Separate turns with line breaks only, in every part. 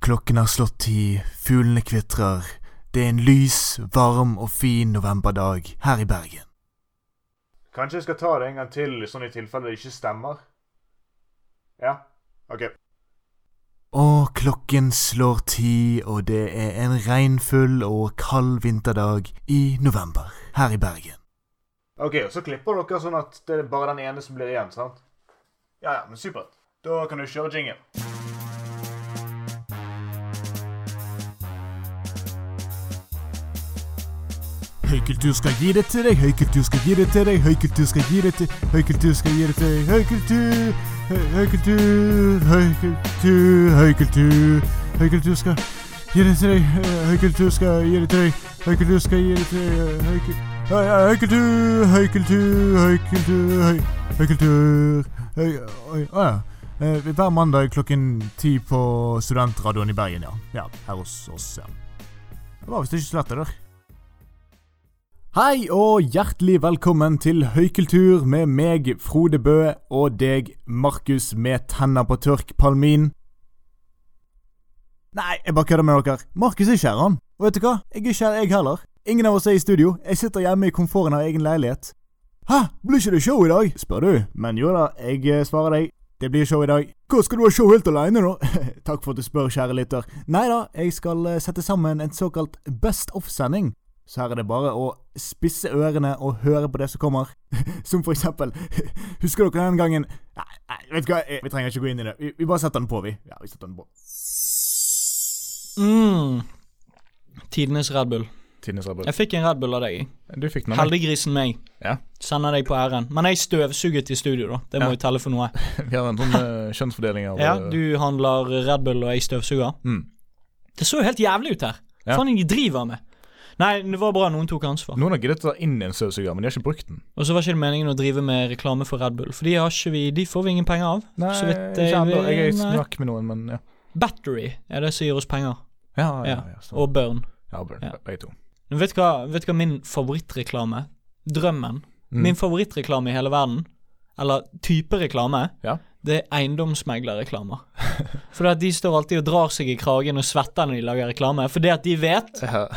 Klokken har slått ti, fuglene kvitrer. Det er en lys, varm og fin novemberdag her i Bergen.
Kanskje jeg skal ta det en gang til, sånn i tilfelle det ikke stemmer? Ja? OK.
Og klokken slår ti, og det er en regnfull og kald vinterdag i november her i Bergen.
Ok, og Så klipper dere sånn at det er bare den ene som blir igjen, sant? Ja, ja, men supert. Da kan du kjøre jingle.
Høykultur skal gi det til deg, høykultur skal gi det til deg, høykultur skal gi det til Høykultur skal gi det til deg, høykultur høy- Høykultur, høykultur, høykultur Høykultur skal gi det til deg, høy- høykultur skal gi det til deg, høykultur skal gi det til deg, høykultur Høykultur, høykultur, høykultur, høy- høykultur Høy... Oi, å ja. Eh, Hver mandag klokken ti på Studentradioen i Bergen, ja. ja. Her hos oss, ja. Det var visst ikke så lett, det der. Hei og hjertelig velkommen til Høykultur med meg, Frode Bø, og deg, Markus med tenner på tørk, Palmin. Nei, jeg bare kødder med dere. Markus er ikke her, han. Og vet du hva? Jeg er ikke her, jeg heller. Ingen av oss er i studio. Jeg sitter hjemme i komforten av egen leilighet. Hæ, blir ikke det show i dag? spør du. Men jo da, jeg eh, svarer deg. Det blir show i dag. Hva skal du ha show helt aleine, da? Takk for at du spør, kjære lytter. Nei da, jeg skal eh, sette sammen en såkalt Best of-sending. Så her er det bare å spisse ørene og høre på det som kommer. Som for eksempel Husker dere den gangen Nei, nei vet du hva, eh, vi trenger ikke gå inn i det. Vi, vi bare setter den på, vi. Ja, vi setter den på.
Mm. Tidenes Red Bull.
Tidenes Red Bull.
Jeg fikk en Red Bull av deg. jeg.
Du fikk den av meg.
Heldiggrisen meg.
Ja.
Sender deg på æren. Men jeg støvsuget i studio, da. Det må jo
Ja.
telle for noe.
Vi har en sånn eh, kjønnsfordeling av
Ja,
eh,
Du handler Red Bull, og jeg støvsuger.
Mm.
Det så jo helt jævlig ut her. Hva
Ja.
faen de driver med? Nei, det var bra noen tok ansvar.
Noen har giddet å ta inn en støvsuger, men de har ikke brukt den.
Og så var ikke det meningen å drive med reklame for Red Bull, for de, har ikke vi, de får vi ingen penger av. så vidt
ikke
jeg,
ennå. Jeg er i
nei.
snakk med noen, men ja.
Battery er det som gir oss penger.
Ja, ja,
Ja,
ja, sånn. stemmer.
Og Burn.
ja, Burn,
ja.
be- begge to.
Men Vet du hva, vet du hva min favorittreklame Drømmen.
Mm.
Min favorittreklame i hele verden, eller type reklame,
Ja.
det er eiendomsmeglerreklamer. For det at de står alltid og drar seg i kragen og svetter når de lager reklame. For det at de vet
Ja.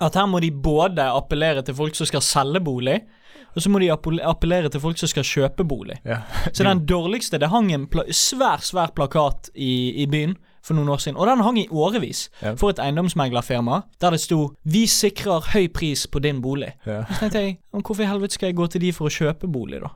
at her må de både appellere til folk som skal selge bolig, og så må de appell- appellere til folk som skal kjøpe bolig.
Ja.
Så den dårligste Det hang en pla svær, svær plakat i, i byen for noen år siden, og den hang i årevis
Ja.
for et eiendomsmeglerfirma der det sto 'Vi sikrer høy pris på din bolig'.
Ja.
Så tenkte jeg "Men hvorfor i helvete skal jeg gå til de for å kjøpe bolig, da?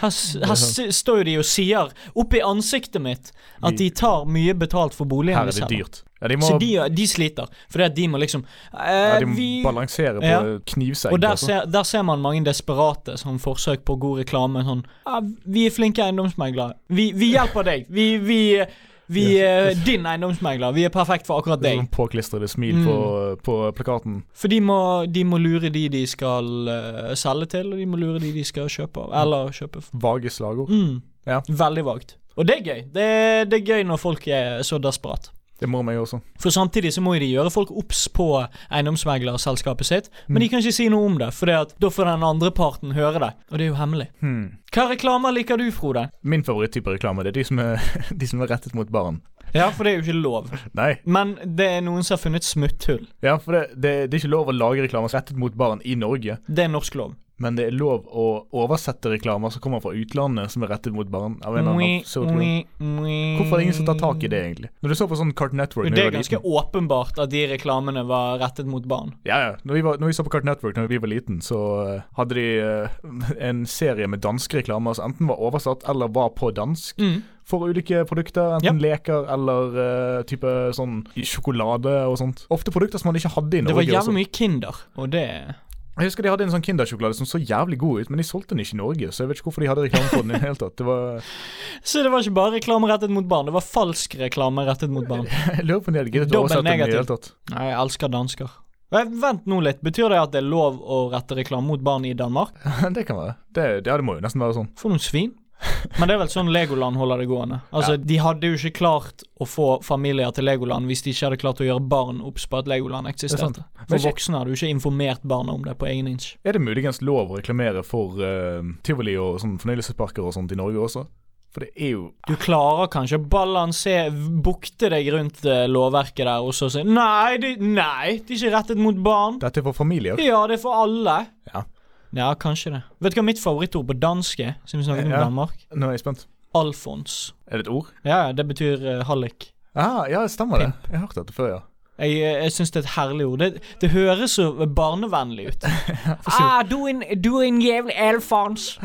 Her, s- her s- står jo de og sier opp i ansiktet mitt at de tar mye betalt for boligen
Her
de
er det
selger.
dyrt. Ja, de må,
Så de, de sliter, fordi at de må liksom eh,
ja, de må
vi,
balansere på
Ja.
knivsegg.
og der
altså.
ser, der ser man mange desperate sånn forsøk på god reklame. Sånn ah, 'Vi er flinke eiendomsmeglere. Vi, vi hjelper deg. Vi, vi, vi er din eiendomsmegler. Vi er perfekt for akkurat
Det er
deg.' Mm.
Sånn påklistrede smil på, på plakaten.
For de må, de må lure de de skal eh, selge til, og de må lure de de skal kjøpe av. Eller kjøpe for.
Vage slagord.
Mm.
Ja.
Veldig vagt. Og det er gøy. Det, det er gøy når folk er så desperate.
Det må meg også.
For samtidig så må jo de gjøre folk obs på eiendomsmeglerselskapet sitt, men de kan ikke si noe om det, for da får den andre parten høre det, og det er jo hemmelig.
Hmm.
Hva reklamer liker du, Frode?
Min favoritttype reklame det er de som er, de som er rettet mot barn.
Ja, for det er jo ikke lov.
Nei,
Men det er noen som har funnet smutthull.
ja, for det, det, det er ikke lov å lage reklamer rettet mot barn i Norge.
Det er norsk lov.
Men det er lov å oversette reklamer som kommer fra utlandet som er rettet mot barn. Av en eller annen absurd grunn. Hvorfor
Hvorfor
er det ingen som tar tak i det, egentlig? Når du så på sånn Cartoon Network når
Det
vi
er
var
ganske
liten
åpenbart at de reklamene var rettet mot barn.
Ja, ja. Når vi, var, når vi så på Cartoon Network når vi var liten, så eh, hadde de eh, en serie med danske reklamer som enten var oversatt eller var på dansk.
Mm.
For ulike produkter, enten leker eller eh, type sånn sjokolade og sånt. Ofte produkter som man ikke hadde i
Det var
Norge.
jævlig
også.
mye Kinder, og det
Jeg husker de hadde en sånn Kindersjokolade som så jævlig god ut, men de solgte den ikke i Norge, så jeg vet ikke hvorfor de hadde reklame for den i det hele tatt. Det var,
Så det var ikke bare reklame rettet mot barn, det var falsk reklame rettet mot barn.
jeg lurer på om de hadde giddet å
Dobbel
oversette den i det
negativ.
hele tatt.
Nei, jeg elsker dansker. Eh, Vent nå litt, betyr det at det er lov å rette reklame mot barn i Danmark?
det kan være. Det, ja, det må jo nesten være sånn.
For noen svin. Men det er vel sånn Legoland holder det gående. Altså, De hadde jo ikke klart å få familier til Legoland hvis de ikke hadde klart å gjøre barn obs på at Legoland
sant.
eksisterte.
Men
For
ikke-
voksne hadde jo ikke informert barna om det på egen inch.
Er det muligens lov å reklamere for eh, tivoli og sånn fornøyelsesparker og sånt i Norge også? For det er jo
Du klarer kanskje å balansere Bukte deg rundt eh, lovverket der og så si Nei, det, nei, det er ikke rettet mot barn.
Dette er for familier.
Ja, det er for alle.
Ja.
Ja, kanskje det. Vet du hva mitt favorittord på dansk er? Siden vi snakket om
Ja.
Danmark?
Nå er jeg spent.
Alfons.
Er det et ord?
Ja, ja, det betyr eh, hallik.
Ah, ja, stemmer det. Jeg har hørt dette før, ja.
Jeg, eh, jeg syns det er et herlig ord. Det, det høres så barnevennlig ut. ah, du er en, du er en jævlig Alfons.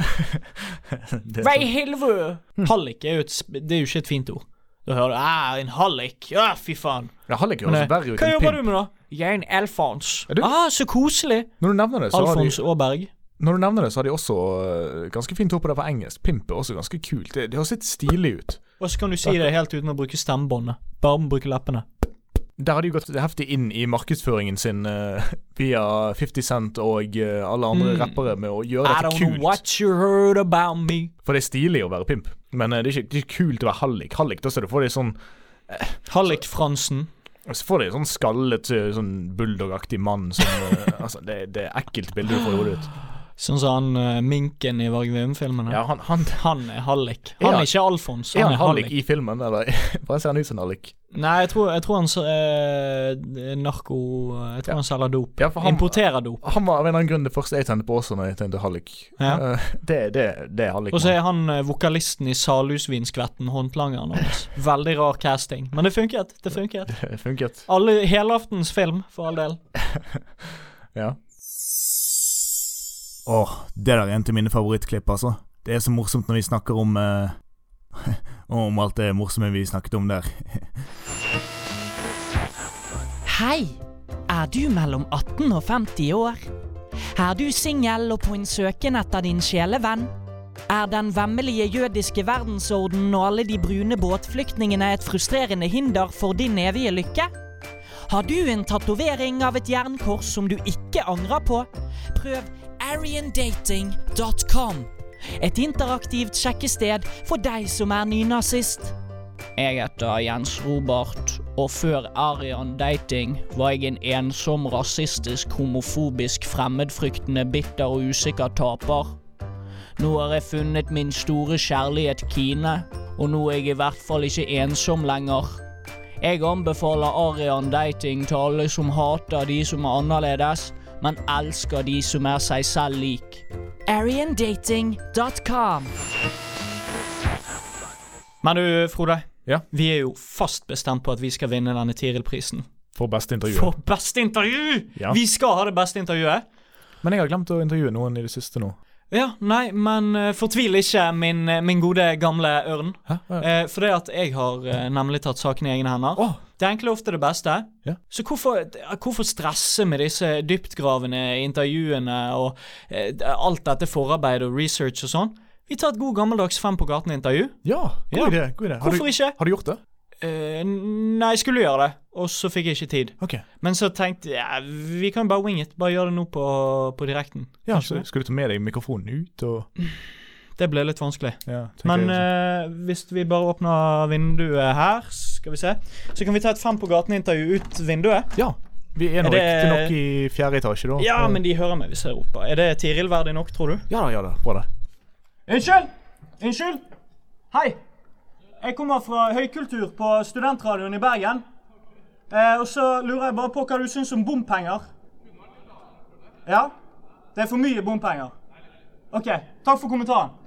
Det
Hva i helvete? Hallik er jo, et, sp- det er jo ikke et fint ord. Da hører du ah, 'en hallik'. Ja, fy faen.
Jeg har ikke
Men,
hørt
eh,
verre ut
Hva
enn
jobber du
pimp.
med, da? Jeg er en Alfons.
Er du-
Ah, så koselig.
Når du nevner det, så har de,
Alfons Aaberg.
når du nevner det, så har de også eh, ganske fint ord på det på engelsk. Pimp er også ganske kult. Det, det høres litt stilig ut.
Og så kan du si det helt uten å bruke stemmebåndet. Bare med å bruke leppene.
Der har de jo gått heftig inn i markedsføringen sin eh, via 50 Cent og eh, alle andre
Mm.
rappere med å gjøre
I
dette
don't know
kult.
what you heard about me.
For det er stilig å være pimp, men eh, det, er ikke, det er ikke kult å være hallik. Hallik, da ser du for deg sånn
Hallik Fransen.
Så får de en sånn skallet, eh, sånn bulldog-aktig mann som eh, Altså, det, det er ekkelt bilde du får i hodet ditt.
Sånn som han eh, minken i Varg Veum-filmene.
Ja, han, han
Han er hallik. Han
Ja.
er ikke Alfons.
Er
Han
han
er
hallik
hallik.
i filmen, eller bare ser han ut som en hallik?
Nei, jeg tror, jeg tror han s- eh, narko Jeg tror
Ja.
han selger dop.
Ja, for han-
Importerer dop.
Han var av en eller annen grunn det første jeg tenkte på også når jeg tenkte hallik.
Ja.
Eh, Det, det, det er hallik.
Og så
mann.
er han eh, vokalisten i Salhusvinskvetten, håndlangeren hans. Veldig rar casting, men det funket. Det funket.
Det funket.
Alle, helaftens film, for all del.
Ja.
Åh, det der er en til mine favorittklipp, altså. Det er så morsomt når vi snakker om eh, Om alt det morsomme vi snakket om der.
Hei! Er du mellom 18 og 50 år? Er du singel og på en søken etter din sjelevenn? Er den vemmelige jødiske verdensorden og alle de brune båtflyktningene et frustrerende hinder for din evige lykke? Har du en tatovering av et jernkors som du ikke angrer på? Prøv ariandating.com. Et interaktivt sjekkested for deg som er nynazist. Jeg heter Jens Robert, og før Arian Dating var jeg en ensom, rasistisk, homofobisk, fremmedfryktende, bitter og usikker taper. Nå har jeg funnet min store kjærlighet Kine, og nå er jeg i hvert fall ikke ensom lenger. Jeg anbefaler Arian Dating til alle som hater de som er annerledes, men elsker de som er seg selv lik. ariandating.com
Men du, Frode.
Ja.
Vi er jo fast bestemt på at vi skal vinne denne Tiril-prisen.
For beste intervju.
For beste intervju!
Ja.
Vi skal ha det beste intervjuet.
Men jeg har glemt å intervjue noen i det siste nå.
Ja, nei, men eh, fortvil ikke, min, eh, min gode, gamle ørn.
Hæ? Hva-
Eh, for det at jeg har eh, nemlig tatt saken i egne hender.
Åh.
Det enkle er ofte det beste.
Ja.
Så hvorfor, eh, hvorfor stresse med disse dyptgravende intervjuene og eh, alt dette forarbeid og research og sånn? Vi tar et god gammeldags Fem på gaten-intervju.
Ja, god
Ja.
idé. god idé. Har
Hvorfor
du,
ikke?
Har du gjort det?
Eh, nei, jeg skulle gjøre det, og så fikk jeg ikke tid.
Ok.
Men så tenkte jeg ja, vi kan bare wing it. Bare gjøre det nå på, på direkten.
Ja,
Kanskje
så
det?
Skal du ta med deg mikrofonen ut og
Det ble litt vanskelig.
ja, tenker
Men
jeg,
eh, hvis vi bare åpner vinduet her, skal vi se, så kan vi ta et Fem på gaten-intervju ut vinduet.
liksom. Ja. Vi er nå
er det-
riktignok i fjerde etasje, da.
Ja,
Eh,
men de hører meg hvis jeg roper. Er det Tiril verdig nok, tror du?
Ja da, ja da. Bra, det.
Unnskyld! Unnskyld! Hei! Jeg kommer fra høykultur på studentradioen i Bergen. Eh, og så lurer jeg bare på hva du syns om bompenger. Ja? Det er for mye bompenger. OK. Takk for kommentaren.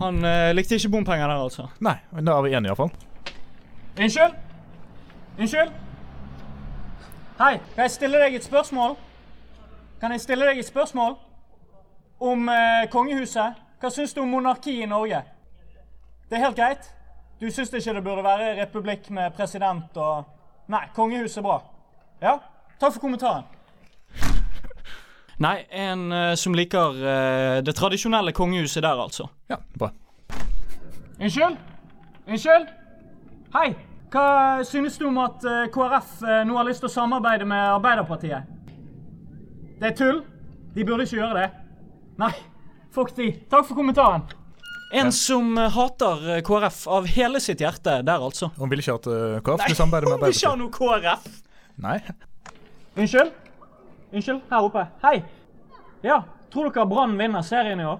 Han eh, likte ikke bompenger der, altså.
Nei, men da er vi enige, iallfall.
Unnskyld? Unnskyld? Hei, kan jeg stille deg et spørsmål? Kan jeg stille deg et spørsmål? Om eh, kongehuset? Hva syns du om monarki i Norge? Det er helt greit? Du syns ikke det burde være republikk med president og Nei, kongehuset er bra. Ja? Takk for kommentaren. Nei, en eh, som liker eh, det tradisjonelle kongehuset der, altså.
Ja, bra.
Unnskyld? Unnskyld? Hei. Hva synes du om at eh, KrF eh, nå har lyst til å samarbeide med Arbeiderpartiet? Det er tull. De burde ikke gjøre det. Nei, fuck de. Takk for kommentaren. En som hater eh, KrF av hele sitt hjerte der, altså.
Hun ville ikke at uh, KrF skulle samarbeide med Arbeiderpartiet.
noe KrF.
Nei.
Unnskyld? Unnskyld, her oppe. Hei. Ja, tror dere Brann vinner serien i år?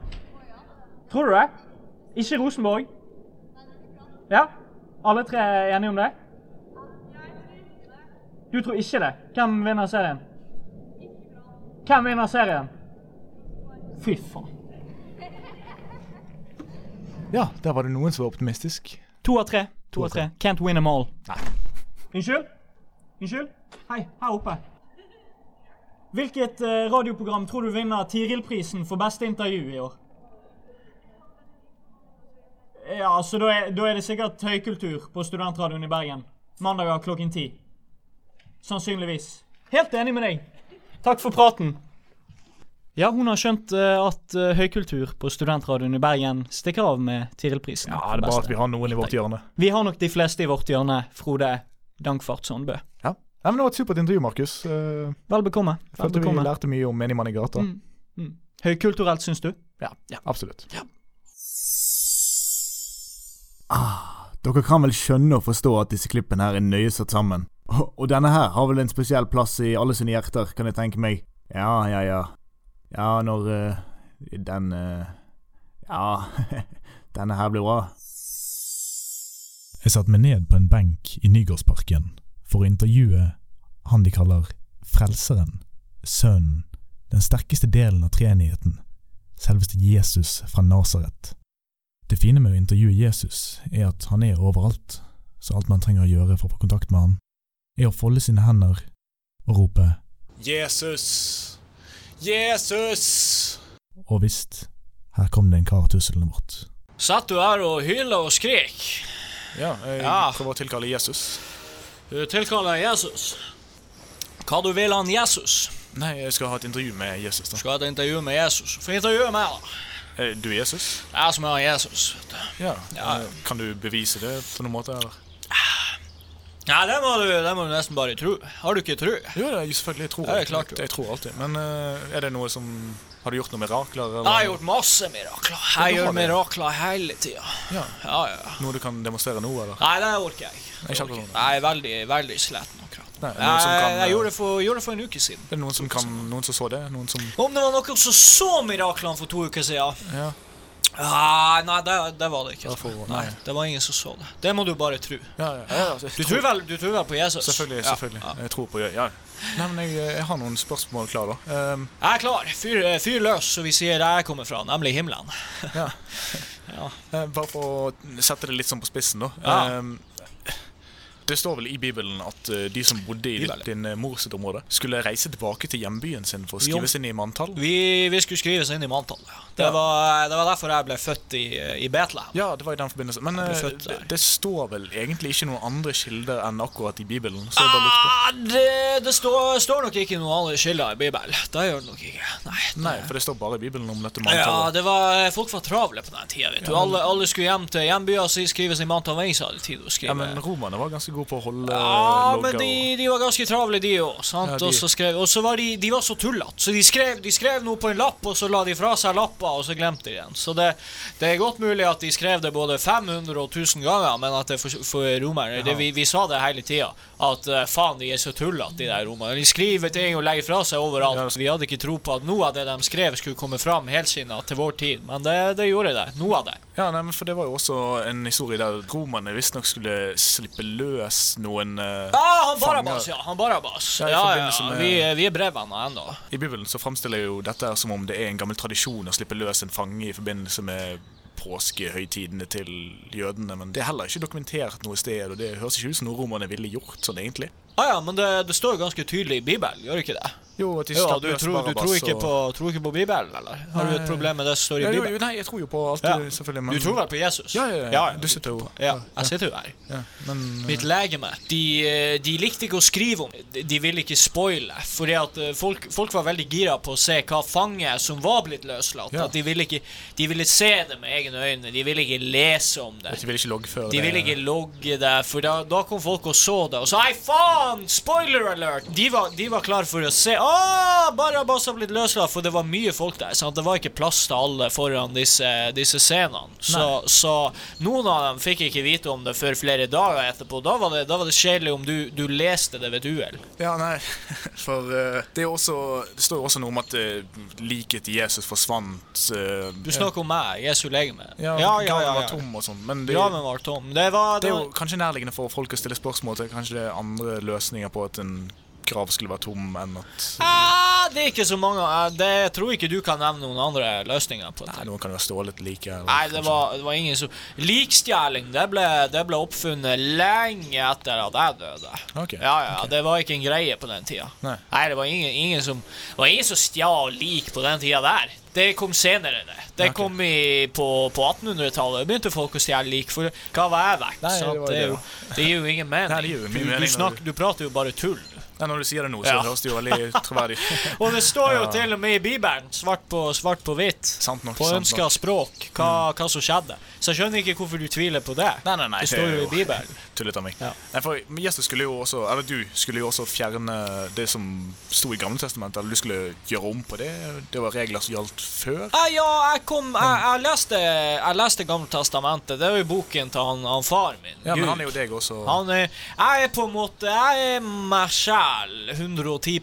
Tror du det?
Ikke Rosenborg. Ja? Alle tre er enige om det? Du tror ikke det? Hvem vinner serien? Hvem vinner serien? Fy faen.
Ja, der var det noen som var optimistisk.
To av tre. To av tre. Can't win them all.
Unnskyld? Unnskyld? Hei, her oppe. Hvilket eh, radioprogram tror du vinner Tiril-prisen for beste intervju i år? Ja, så da er, da er det sikkert høykultur på Studentradioen i Bergen. Mandager klokken ti. Sannsynligvis. Helt enig med deg. Takk for praten. Ja, hun har skjønt eh, at eh, høykultur på Studentradioen i Bergen stikker av med Tiril-prisen.
Ja,
for
det er bra
beste.
at vi har noen i vårt hjørne.
Vi har nok de fleste i vårt hjørne, Frode Dankfart Sandbø.
Ja. Nei, men Det var et supert intervju, Markus. Eh,
Vel bekomme. Vel
følte vi
bekomme.
lærte mye om menigmann i gata.
Høykulturelt, syns du?
Ja, absolutt.
Dere kan vel skjønne og forstå at disse klippene her er nøye satt sammen. Og, og denne her har vel en spesiell plass i alle sine hjerter, kan jeg tenke meg. Ja, ja, ja. Ja, når eh, den eh, Ja, denne her blir bra.
Jeg satte meg ned på en benk i Nygårdsparken for å intervjue han de kaller Frelseren, Sønnen, den sterkeste delen av treenigheten, selveste Jesus fra Nasaret. Det fine med å intervjue Jesus er at han er overalt, så alt man trenger å gjøre for å få kontakt med han, er å folde sine hender og rope Jesus! Jesus! Og visst, her kom det en kar tuslende bort.
Satt du her og hyla og skrek?
Ja, jeg
Ja.
prøver å tilkalle Jesus.
Du tilkaller Jesus. Hva du vil han Jesus?
Nei, jeg skal ha et intervju med Jesus. da.
Skal ha et intervju med Jesus. Få intervjue meg, da.
Eh, Du er Jesus?
Jeg som er Jesus. vet du.
Ja. Eh, Kan du bevise det på noen måte, eller?
Nei, det må du, det må du nesten bare tro. Har du ikke tro?
Jo, det er selvfølgelig. Jeg tror,
Ja, det er
alltid.
klart du-
jeg tror alltid. Men eh, er det noe som Har du gjort noen mirakler?
Jeg
Eller
har gjort masse mirakler. Jeg
Ja, du har
gjør
det.
mirakler hele tida.
Ja.
Ja, ja.
noe du kan demonstrere nå, eller?
Nei, det orker jeg ikke.
Nei, ikke akkurat nå.
Jeg er veldig, veldig sliten akkurat.
Nei, noen som
Jeg,
kan,
jeg
eh,
gjorde det for, gjorde det for en uke siden.
Er det noen som, kan, noen som så det? Noen som
Om det var noen som så miraklene for to uker siden?
Ja.
Ah, nei, det, det var det ikke.
Det får-
nei.
nei.
det var ingen som så det. Det må du bare tro.
Ja, ja. ja, altså,
Du
jeg
tror vel, du tror vel på Jesus?
Selvfølgelig.
Ja,
selvfølgelig.
ja.
Jeg tror på ja. Nei, men jeg, eh, jeg har noen spørsmål klar, da. Ehm,
Jeg er klar. Fyr, eh, fyr løs, så vi sier der jeg kommer fra, nemlig himmelen.
eh, bare for å sette det litt sånn på spissen, da.
Ja.
Ehm, det står vel i Bibelen at eh, de som bodde i
Bibelen.
din eh, mor sitt område, skulle reise tilbake til hjembyen sin for å
Jo.
skrives inn i manntall?
Vi, vi skulle skrives inn i manntallet. Ja. Det,
Ja.
var- eh, det var derfor jeg ble født i, eh, i Betlehem.
Ja, det var i den forbindelse. Men
ble
eh,
født der.
det, det står vel egentlig ikke noen andre kilder enn akkurat i Bibelen? Så jeg bare lurer på
Ah, det det står, står nok ikke noen andre skiller i Bibelen. Det gjør det nok ikke. Nei. det-
Nei, for det står bare i Bibelen om dette
Ja,
manntallet.
det var, folk var travle på den tida. vet du. Alle, alle skulle hjem til hjembyen sin, skrives i manntall. men Ingen hadde tid til å
Ja,
skrive.
men romerne var ganske gode på å holde
Ja, Ah,
logger
men de, de var ganske travle, de òg.
Eh, Ja,
sant?
de-
Og så skrev- og så var de, de var så tullete, så de skrev, de skrev noe på en lapp, og så la de fra seg lappa, og så glemte de den. Så det, det er godt mulig at de skrev det både 500 og 1000 ganger, men at det for, for romerne det, vi, vi sa det hele tida, at eh, faen, de er så tullete, de der romerne. De skriver ting og legger fra seg overalt.
Ja.
Vi hadde ikke tro på at noe av det de skrev, skulle komme fram helsinna til vår tid, men det, det gjorde det. Noe av det.
Ja, nei, men for Det var jo også en historie der romerne visstnok skulle slippe løs noen eh,
Ja, Ah, han
fanger.
Barabas, ja. Han Barabas. Ja,
Ja, i
ja,
forbindelse med-
Vi, vi er brevvenner ennå.
I Bibelen så framstiller jo dette her som om det er en gammel tradisjon å slippe løs en fange i forbindelse med påskehøytidene til jødene, men det er heller ikke dokumentert noe sted, og det høres ikke ut som noe romerne ville gjort sånn egentlig.
Ah, ja, men det, det står jo ganske tydelig i Bibelen, gjør det ikke det?
Jo, at de
Ja,
slapp
du,
løs
tror, du
Barabbas
tror, ikke
og-
på, tror ikke på Bibelen, eller? Har du et problem med det som står i
ja, jo, jo,
Bibelen?
Nei, jeg tror jo på alt,
Ja.
du- selvfølgelig, men
Du tror vel på Jesus?
Ja, ja, ja. Du sitter jo
Ja, jeg sitter jo her.
ja, Men
Mitt legeme. De, eh, de likte ikke å skrive om det. De ville ikke spoile. Fordi at eh, folk, folk var veldig gira på å se hva fange som var blitt løslatt.
Ja.
At de ville ikke De ville se det med egne øyne. De ville ikke lese om det.
de vil ikke loggføre
De ville ikke logge det, for da, da kom folk og så det og sa Ei, faen! Spoiler alert! De var, de var klar for å se. Å, ah, Barabbas har blitt løslatt, for det var mye folk der. Sant? Det var ikke plass til alle foran disse, disse scenene. Så, så noen av dem fikk ikke vite om det før flere dager etterpå. Da var det, da var det kjedelig om du, du leste det ved et uhell.
Ja, nei, for eh, det, er også, det står jo også noe om at eh, liket til Jesus forsvant. eh,
Du snakker om meg, Jesu legeme.
ja, ja, ja, var tom og sånn, men det,
Graven var tom. Det var,
det
det
er
var
jo kanskje nærliggende for folk å stille spørsmål til. Kanskje det er andre løsninger på at en grav skulle være tom, enn at
ah, Det er ikke så mange. eh, Det, jeg tror ikke du kan nevne noen andre løsninger på det.
Nei, noen kan jo ha stjålet liket. eller
Nei, det
kanskje-
var, det var ingen som Likstjeling det ble, det ble oppfunnet lenge etter at jeg døde.
Ok,
ja, ja, Det var ikke en greie på den tida.
Nei.
det var ingen, ingen som Det var ingen som stjal lik på den tida der. Det kom senere, det. Det
ok.
kom i, på, på 1800-tallet. begynte folk å stjele lik. For hva var jeg vekk?
Nei,
sant?
det var
det,
det,
er jo, det gir jo ingen
Nei, det gir
mening.
jo ingen
Du,
mening
du,
når
snak, du prater jo bare tull.
Nei, når du sier det nå, så
Ja.
høres det jo veldig troverdig ut.
Og det står jo
Ja.
til og med i Bibelen, svart på, svart på hvitt,
Sant nok,
på
sant
ønska
nok.
språk, hva, hva som skjedde. Så jeg skjønner ikke hvorfor du tviler på det.
Nei, nei, nei.
Det står jo i
er
Bibelen.
Tullet av meg.
Ja.
Nei, for Jesus skulle jo også, eller du skulle jo også fjerne det som sto i Gamle testamentet, eller du skulle gjøre om på det. Det var regler som gjaldt før.
Nei, Ah, ja, jeg kom Jeg, jeg leste, jeg leste Gamle Testamentet. Det er jo boken til han, han far min.
Ja, men
Gud.
han er jo deg også.
Han er, jeg er på en måte Jeg er meg sjæl 110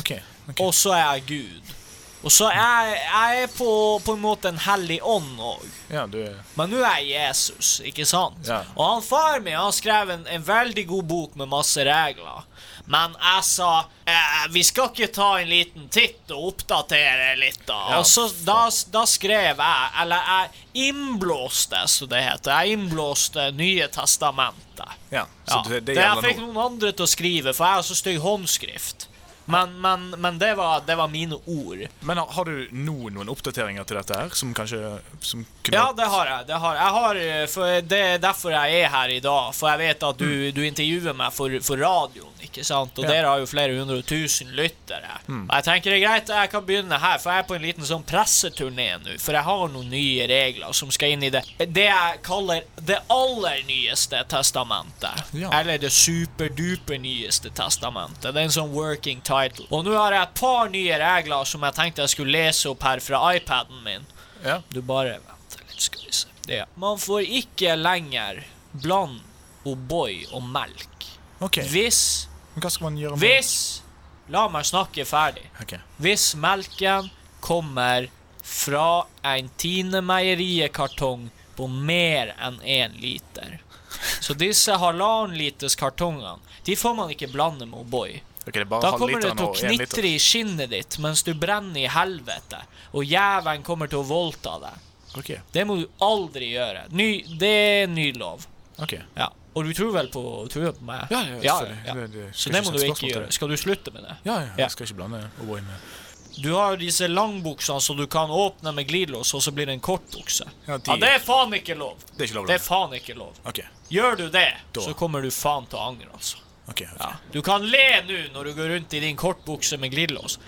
Ok, ok.
og så er jeg Gud. Og så er jeg, jeg er på, på en måte en hellig ånd òg.
Ja, du er...
Men nå er jeg Jesus, ikke sant?
Ja.
Og han far min han skrev en, en veldig god bok med masse regler. Men jeg sa eh, vi skal ikke ta en liten titt og oppdatere litt, da.
Ja,
og så da, da skrev jeg, eller jeg innblåste, som det heter. Jeg innblåste Nye testamentet.
Ja, så
Ja.
det,
Det,
det
jeg
gjelder
fikk
nå.
noen andre til å skrive, for jeg har så stygg håndskrift. Men, men, men det, var, det var mine ord.
Men har- har du nå noen oppdateringer til dette her, som kanskje som kunne
Ja, det har jeg. Det, har jeg. jeg har, eh, for det er derfor jeg er her i dag. For jeg vet at du, du intervjuer meg for, for radioen, ikke sant? Og
Mm. Ja. Mm.
dere har jo flere hundre tusen lyttere. Og jeg tenker det er greit jeg kan begynne her, for jeg er på en liten sånn presseturné nå. For jeg har noen nye regler som skal inn i det Det jeg kaller det aller nyeste testamentet.
Ja.
Eller det superduper nyeste testamentet. Det er en sånn working title. Og nå har jeg et par nye regler som jeg tenkte jeg skulle lese opp her fra iPaden min.
Ja.
Du bare Vent litt, skal vi se. Det. Man får ikke lenger blande O'boy og melk.
Ok,
Hvis
men hva skal man gjøre med
Hvis La meg snakke ferdig.
Ok,
Hvis melken kommer fra en Tine-meieriekartong på mer enn én liter. Så disse halvannenliterskartongene, de får man ikke blande med O'boy.
Ok, det er bare
Da kommer det
halvliteren
til å
og en liter.
knitre i skinnet ditt mens du brenner i helvete, og jævelen kommer til å voldta deg.
Ok,
Det må du aldri gjøre. Ny, det er en ny lov.
ok.
Ja. Og du tror vel på, tror vel på meg?
Ja, ja, selvfølgelig.
ja.
Det- det-
Så
skal
det
ikke
må du
sette spørsmål
ikke
til
gjøre.
det.
Skal du slutte med det?
Ja, ja,
Ja.
jeg skal ikke blande O'boy med
Du har jo disse langbuksene som du kan åpne med glidelås, og så blir det en kortbukse.
Ja, de-
det er faen ikke lov!
Det er ikke lov å
Det er
blande.
faen ikke lov.
Ok,
Gjør du det,
Da.
så kommer du faen til å angre, altså.
ok, ok.
Du kan le nå når du går rundt i din kortbukse med glidelås,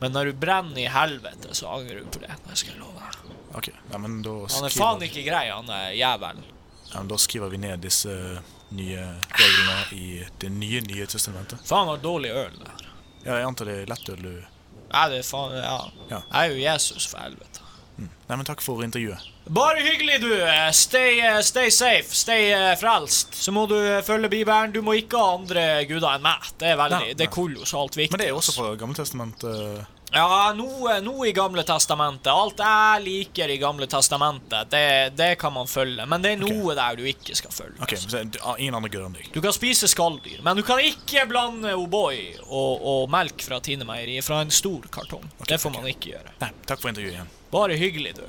men når du brenner i helvete, så angrer du på det. Det skal jeg love deg.
Ok, ja, men da
Han er
skriver,
faen ikke grei, han er jævelen.
ja, men da skriver vi ned disse eh, nye reglene i det nye, nye testamentet.
Faen, var dårlig øl det her.
Ja, jeg antar det er lettøl du
Nei, det er faen Ja.
Ja.
Jeg er jo Jesus, for helvete.
Nei, men takk for intervjuet.
Bare hyggelig, du. Eh, Stay, eh, stay safe. Stay eh, frelst. Så må du eh, følge Bibelen. Du må ikke ha andre guder enn meg. Det er veldig,
Nei,
det
nei.
er kolossalt viktig.
Men det er jo også fra Gammeltestamentet.
Ja, noe, noe i Gamle testamentet. Alt jeg liker i Gamle testamentet, det, det kan man følge. Men det er noe der du ikke skal følge.
Ok, så det er ingen andre guder enn deg.
Du kan spise skalldyr, men du kan ikke blande O'boy og, og melk fra Tine Meieri fra en stor kartong. det får man ikke gjøre.
Nei, takk for intervjuet igjen.
Bare hyggelig, du.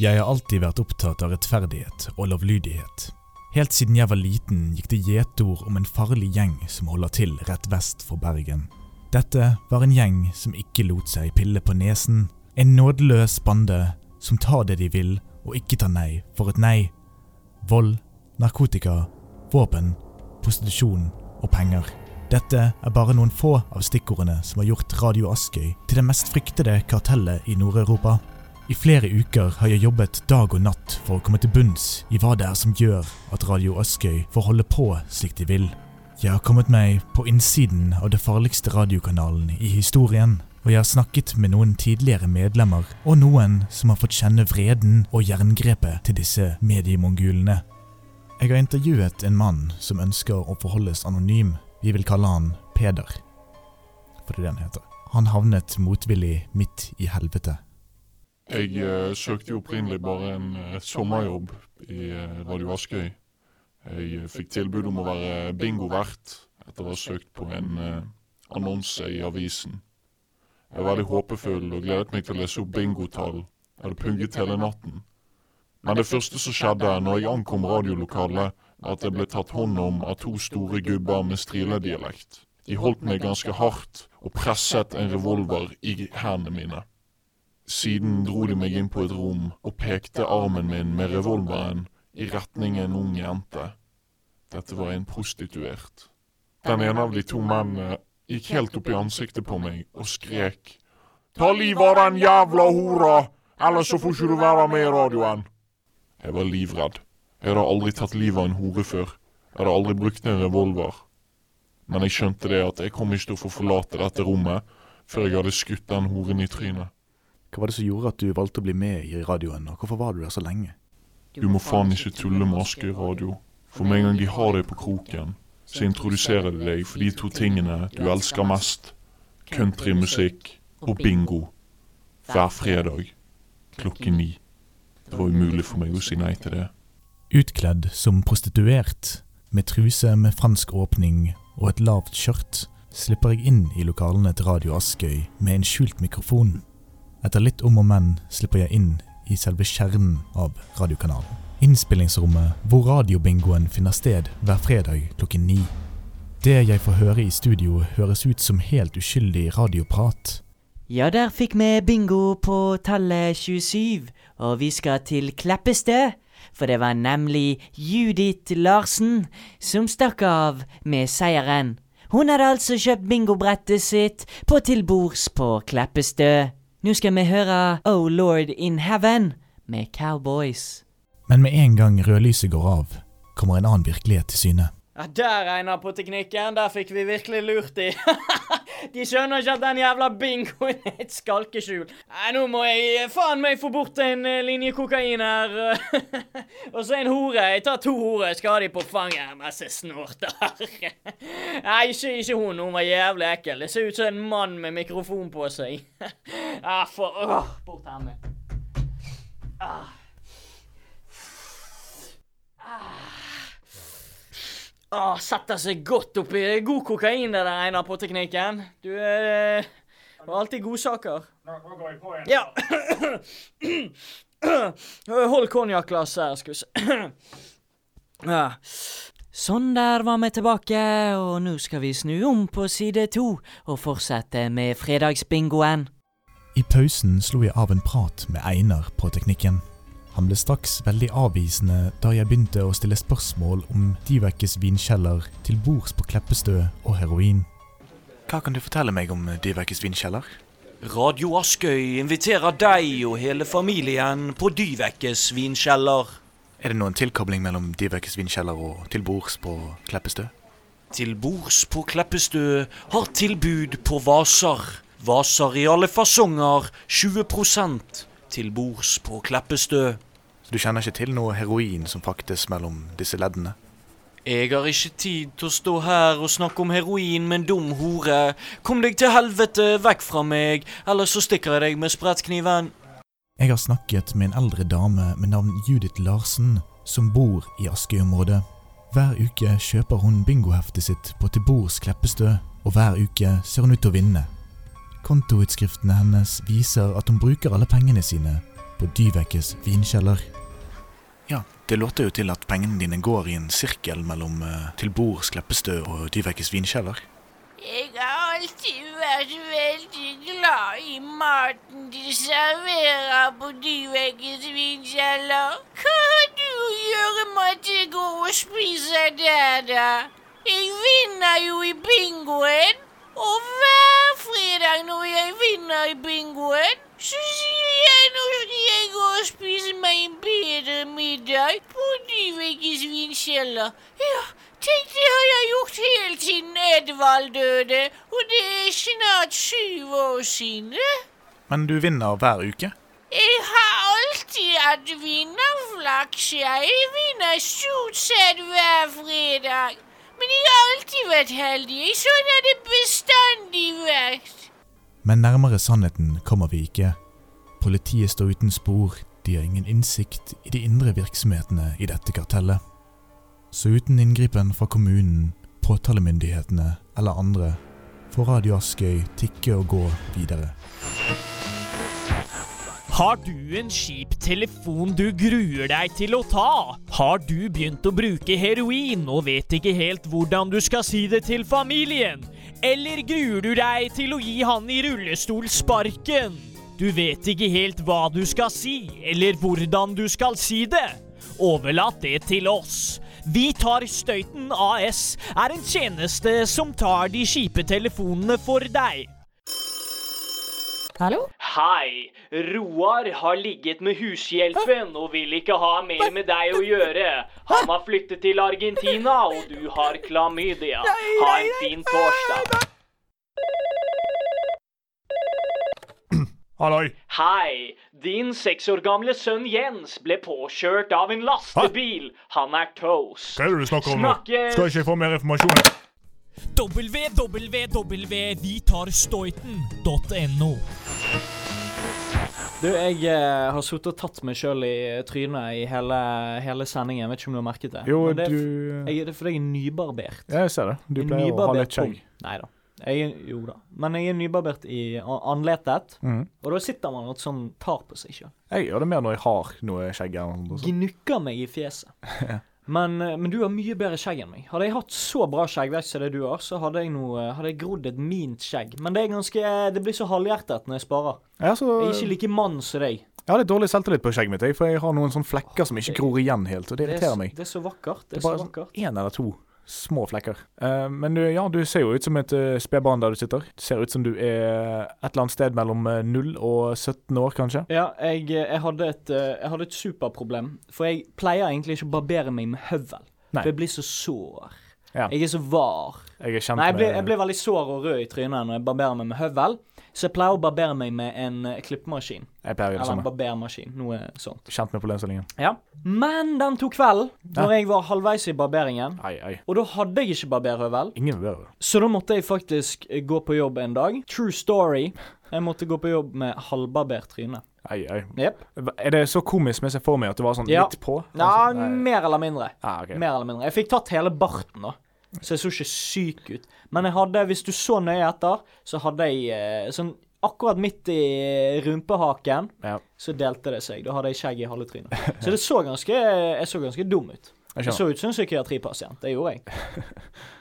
Jeg har alltid vært opptatt av rettferdighet og lovlydighet. Helt siden jeg var liten gikk det gjetord om en farlig gjeng som holder til rett vest for Bergen. Dette var en gjeng som ikke lot seg pille på nesen, en nådeløs bande som tar det de vil og ikke tar nei for et nei. Vold, narkotika, våpen, prostitusjon og penger. Dette er bare noen få av stikkordene som har gjort Radio Askøy til det mest fryktede kartellet i Nord-Europa. I flere uker har jeg jobbet dag og natt for å komme til bunns i hva det er som gjør at Radio Askøy får holde på slik de vil.
Jeg har kommet meg på innsiden av det farligste radiokanalen i historien, og jeg har snakket med noen tidligere medlemmer, og noen som har fått kjenne vreden og jerngrepet til disse mediemongulene. Jeg har intervjuet en mann som ønsker å forholdes anonym. Vi vil kalle han Peder. For det er det han heter. Han havnet motvillig midt i helvete.
Jeg eh, søkte jo opprinnelig bare en, eh, et sommerjobb i eh, Radio Askøy. Jeg eh, fikk tilbud om å være eh, bingovert etter å ha søkt på en eh, annonse i avisen. Jeg var veldig håpefull og gledet meg til å lese opp bingotall. Jeg hadde pugget hele natten. Men det første som skjedde når jeg ankom radiolokalet, var at jeg ble tatt hånd om av to store gubber med striledialekt. De holdt meg ganske hardt og presset en revolver i hendene mine. Siden dro de meg inn på et rom og pekte armen min med revolveren i retning en ung jente. Dette var en prostituert. Den ene av de to mennene gikk helt opp i ansiktet på meg og skrek Ta livet av den jævla hora, ellers så får ikke du være med i radioen. Jeg var livredd. Jeg hadde aldri tatt livet av en hore før. Jeg hadde aldri brukt en revolver. Men jeg skjønte det at jeg kom ikke til å få forlate dette rommet før jeg hadde skutt den horen i trynet.
Hva var det som gjorde at du valgte å bli med i radioen, og hvorfor var du der så lenge?
Du må faen ikke tulle med Askøy radio. For med en gang de har deg på kroken, så introduserer de deg for de to tingene du elsker mest. Countrymusikk og bingo. Hver fredag klokken ni. Det var umulig for meg å si nei til det.
Utkledd som prostituert, med truse med fransk åpning og et lavt skjørt, slipper jeg inn i lokalene til Radio Askøy med en skjult mikrofon. Etter litt om og men slipper jeg inn i selve kjernen av radiokanalen. Innspillingsrommet hvor radiobingoen finner sted hver fredag klokken ni. Det jeg får høre i studio høres ut som helt uskyldig radioprat.
Ja, der fikk vi bingo på tallet 27, og vi skal til Kleppestø. For det var nemlig Judith Larsen som stakk av med seieren. Hun hadde altså kjøpt bingobrettet sitt på tilbords på Kleppestø. Nå skal vi høre Oh Lord in Heaven med Cowboys.
Men med en gang rødlyset går av, kommer en annen virkelighet til syne.
Ja, Der, Einar, på teknikken. Der fikk vi virkelig lurt de. de skjønner ikke at den jævla bingoen er et skalkeskjul. Nei, nå må jeg eh, faen meg få bort en eh, linje kokain her. Og så en hore. Jeg tar to horer. Skal ha de på fanget. Masse snorter. Nei, ikke, ikke hun. Hun var jævlig ekkel. Det ser ut som en mann med mikrofon på seg. ah, for åh, Bort henne. Ah. Åh, setter seg godt oppi. Det er god kokain det der, Einar, på teknikken. Du er eh, har alltid godsaker.
Nå, nå går jeg på igjen.
Ja. Hold konjakkglasset her, skal vi se. Ja.
Sånn der var vi tilbake, og nå skal vi snu om på side to og fortsette med fredagsbingoen.
I pausen slo jeg av en prat med Einar på teknikken. Han ble straks veldig avvisende da jeg begynte å stille spørsmål om Divekkes vinkjeller til bords på Kleppestø og heroin.
Hva kan du fortelle meg om Dyverkes vinkjeller?
Radio Askøy inviterer deg og hele familien på Dyvekkes vinkjeller.
Er det noen tilkobling mellom Dyverkes vinkjeller og til bords på Kleppestø?
Til bords på Kleppestø har tilbud på vaser. Vaser i alle fasonger, 20 til bords på Kleppestø.
Så du kjenner ikke til noe heroin som fraktes mellom disse leddene?
Jeg har ikke tid til å stå her og snakke om heroin med en dum hore. Kom deg til helvete vekk fra meg, ellers så stikker jeg deg med sprettkniven.
Jeg har snakket med en eldre dame med navn Judith Larsen, som bor i Askøy-området. Hver uke kjøper hun bingoheftet sitt på Til bords Kleppestø, og hver uke ser hun ut til å vinne. Kontoutskriftene hennes viser at hun bruker alle pengene sine på Dyvekkes vinkjeller.
Ja, det låter jo til at pengene dine går i en sirkel mellom eh, til bords Kleppestø og Dyverkes vinkjeller.
Jeg har alltid vært veldig glad i maten de serverer på Dyvekkes vinkjeller. Hva har du å gjøre med at jeg går og spiser der, da? Jeg vinner jo i bingoen. Og hver fredag når jeg vinner i bingoen, så sier jeg nå skal jeg gå og spise meg en bedre middag på Dyvekkes vinkjeller. Ja, Tenk, det har jeg gjort helt siden Edvald døde, og det er snart syv år siden.
Men du vinner hver uke.
Jeg har alltid hatt vinnerflaks, jeg. Jeg vinner stort sett hver fredag. Men jeg har alltid vært heldig. Sånn har det bestandig vært.
Men nærmere sannheten kommer vi ikke. Politiet står uten spor, de har ingen innsikt i de indre virksomhetene i dette kartellet. Så uten inngripen fra kommunen, påtalemyndighetene eller andre, får Radio Askøy tikke og gå videre.
Har du en kjip telefon du gruer deg til å ta? Har du begynt å bruke heroin og vet ikke helt hvordan du skal si det til familien? Eller gruer du deg til å gi han i rullestol sparken? Du vet ikke helt hva du skal si, eller hvordan du skal si det. Overlat det til oss. Vi tar Støyten AS er en tjeneste som tar de kjipe telefonene for deg.
Hallo?
Hei, Roar har ligget med hushjelpen og vil ikke ha mer med deg å gjøre. Han har flyttet til Argentina, og du har klamydia. Ha en fin torsdag.
Halloi.
Hei, din seks år gamle sønn Jens ble påkjørt av en lastebil. Han er toast.
Hva er det du snakker om nå?
Snakkes.
Skal ikke jeg få mer informasjon?
www.vitarstøyten.no
Du, jeg eh, har sittet og tatt meg sjøl i eh, trynet i hele, hele sendingen. Jeg vet ikke om du har merket det.
Jo,
Men det er, f-
du-
jeg, det er fordi jeg er nybarbert.
Ja, jeg ser det. Du
En
pleier å ha
nybarbert
litt skjegg.
pung. Nei da. Jeg, er- jo da. Men jeg er nybarbert i a- anletet,
Mhm.
og da sitter man og sånn tar på seg sjøl.
Jeg gjør det mer når jeg har noe skjegg. eller noe sånt.
Gnukker meg i fjeset. Men, eh, men du har mye bedre skjegg enn meg. Hadde jeg hatt så bra skjeggvekst som det du har, så hadde jeg, nå, eh, hadde jeg grodd et mint skjegg. Men det er ganske eh, Det blir så halvhjertet når jeg sparer.
Ja, så-
Jeg er ikke like mann som deg.
Jeg har litt dårlig selvtillit på skjegget mitt, jeg, for jeg har noen sånne flekker som ikke gror igjen helt, og det
er,
irriterer
s-
meg.
det er så vakkert.
Det
Det
er
er så
bare sånn
vakkert.
én eller to små flekker. Eh, men du, ja, du ser jo ut som et uh, spedbarn der du sitter. Du ser ut som du er et eller annet sted mellom eh, 0 og 17 år, kanskje.
Ja, jeg, jeg, hadde et, eh, jeg hadde et superproblem. For jeg pleier egentlig ikke å barbere meg med høvel.
Nei.
For jeg blir så sår.
Ja.
Jeg er så var.
Jeg er kjent
Nei, jeg blir,
med
jeg blir veldig sår og rød i trynet når jeg barberer meg med høvel. Så jeg pleier å barbere meg med en eh, klippemaskin.
Jeg pleier å gjøre det
Eller en
samme.
barbermaskin. Noe sånt.
Kjent med problemstillingen.
Ja. Men den tok kvelden, når jeg var halvveis i barberingen.
Ei, ei.
Og da hadde jeg ikke barberhøvel.
Ingen vurderer det.
Så da måtte jeg faktisk eh, gå på jobb en dag. True story. Jeg måtte gå på jobb med halvbarbert tryne.
Ei, ei.
Jep.
Er det så komisk som jeg ser for meg at det var sånn litt på?
Ja,
Nei.
mer eller mindre.
Ah, ok.
Mer eller mindre. Jeg fikk tatt hele barten, da. Så jeg så ikke syk ut. Men jeg hadde, hvis du så nøye etter, så hadde jeg eh, sånn akkurat midt i eh, rumpehaken, så delte det seg. Da hadde jeg skjegg i halve trynet. Så det så ganske, jeg så ganske dum ut.
Jeg skjønner.
Jeg så ut som en psykiatripasient. Det gjorde jeg.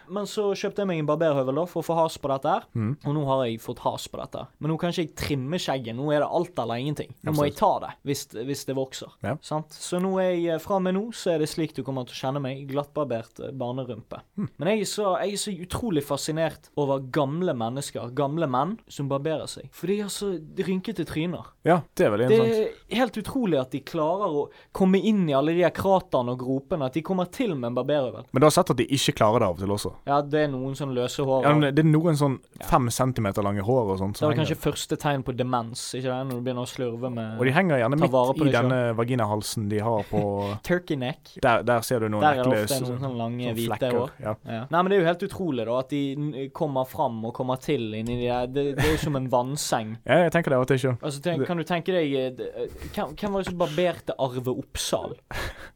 Men så kjøpte jeg meg en barberhøvel da, for å få has på dette her.
Mhm.
Og nå har jeg fått has på dette. Men nå kan ikke jeg trimme skjegget. Nå er det alt eller ingenting. Nå må jeg ta det hvis, hvis det vokser.
Ja.
Sant? Så nå er jeg, eh, fra og med nå så er det slik du kommer til å kjenne meg. Glattbarbert eh, barnerumpe.
Mm.
Men jeg er, så, jeg er så utrolig fascinert over gamle mennesker, gamle menn, som barberer seg. For de har så rynkete tryner.
Ja, det er veldig
Det
interessant.
er helt utrolig at de klarer å komme inn i alle de her kraterne og gropene. At de kommer til med en barberhøvel.
Men du har sett at de ikke klarer det av og til også?
Ja, det er noen sånn løse hår.
Ja, men det er sånn noen sånn fem centimeter lange hår og sånt. som
Så er det
henger.
kanskje første tegn på demens, ikke det? Når du begynner å slurve med
Og de henger gjerne
ta vare
midt
på
i
deg selv.
denne vaginahalsen de har på
Turkey neck.
Der, der ser du noen
Der er det
ekle
ofte
så-
noen sånne lange,
sånne
hvite
flekker,
hår.
Ja.
Nei, men det er jo helt utrolig, da, at de n- kommer fram og kommer til inni de der Det, det er jo som en vannseng.
ja, jeg tenker det av og til ikke.
Altså, tenk, Kan du tenke deg eh, d- eh, Hvem hvem var det som barberte Arve Oppsal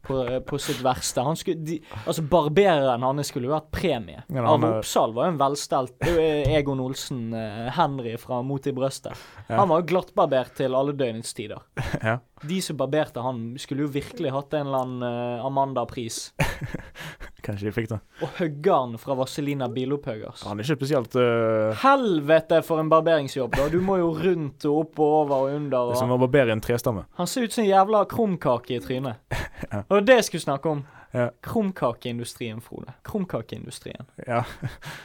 på, eh, på sitt verste? Han skulle, de, altså, Barbereren hans skulle jo hatt premie.
men han
Arve
er-
Oppsal var jo en velstelt Det er jo E- Egon Olsen, eh, Henry fra Mot i brøstet.
Ja.
Han var jo glattbarbert til alle døgnets tider.
Ja.
De som barberte han, skulle jo virkelig hatt en eller annen eh, Amanda-pris.
Kanskje de fikk det.
Og huggeren fra Vazelina Bilopphøggers.
Han er ikke spesielt
eh,
øh,
Helvete for en barberingsjobb, da. Du må jo rundt og opp og over og under.
Det er som
Og...
å barbere en trestamme.
Han ser ut som en jævla krumkake i trynet. Og det var det jeg skulle snakke om.
Ja.
Krumkakeindustrien, Frode. Krumkakeindustrien.
Ja.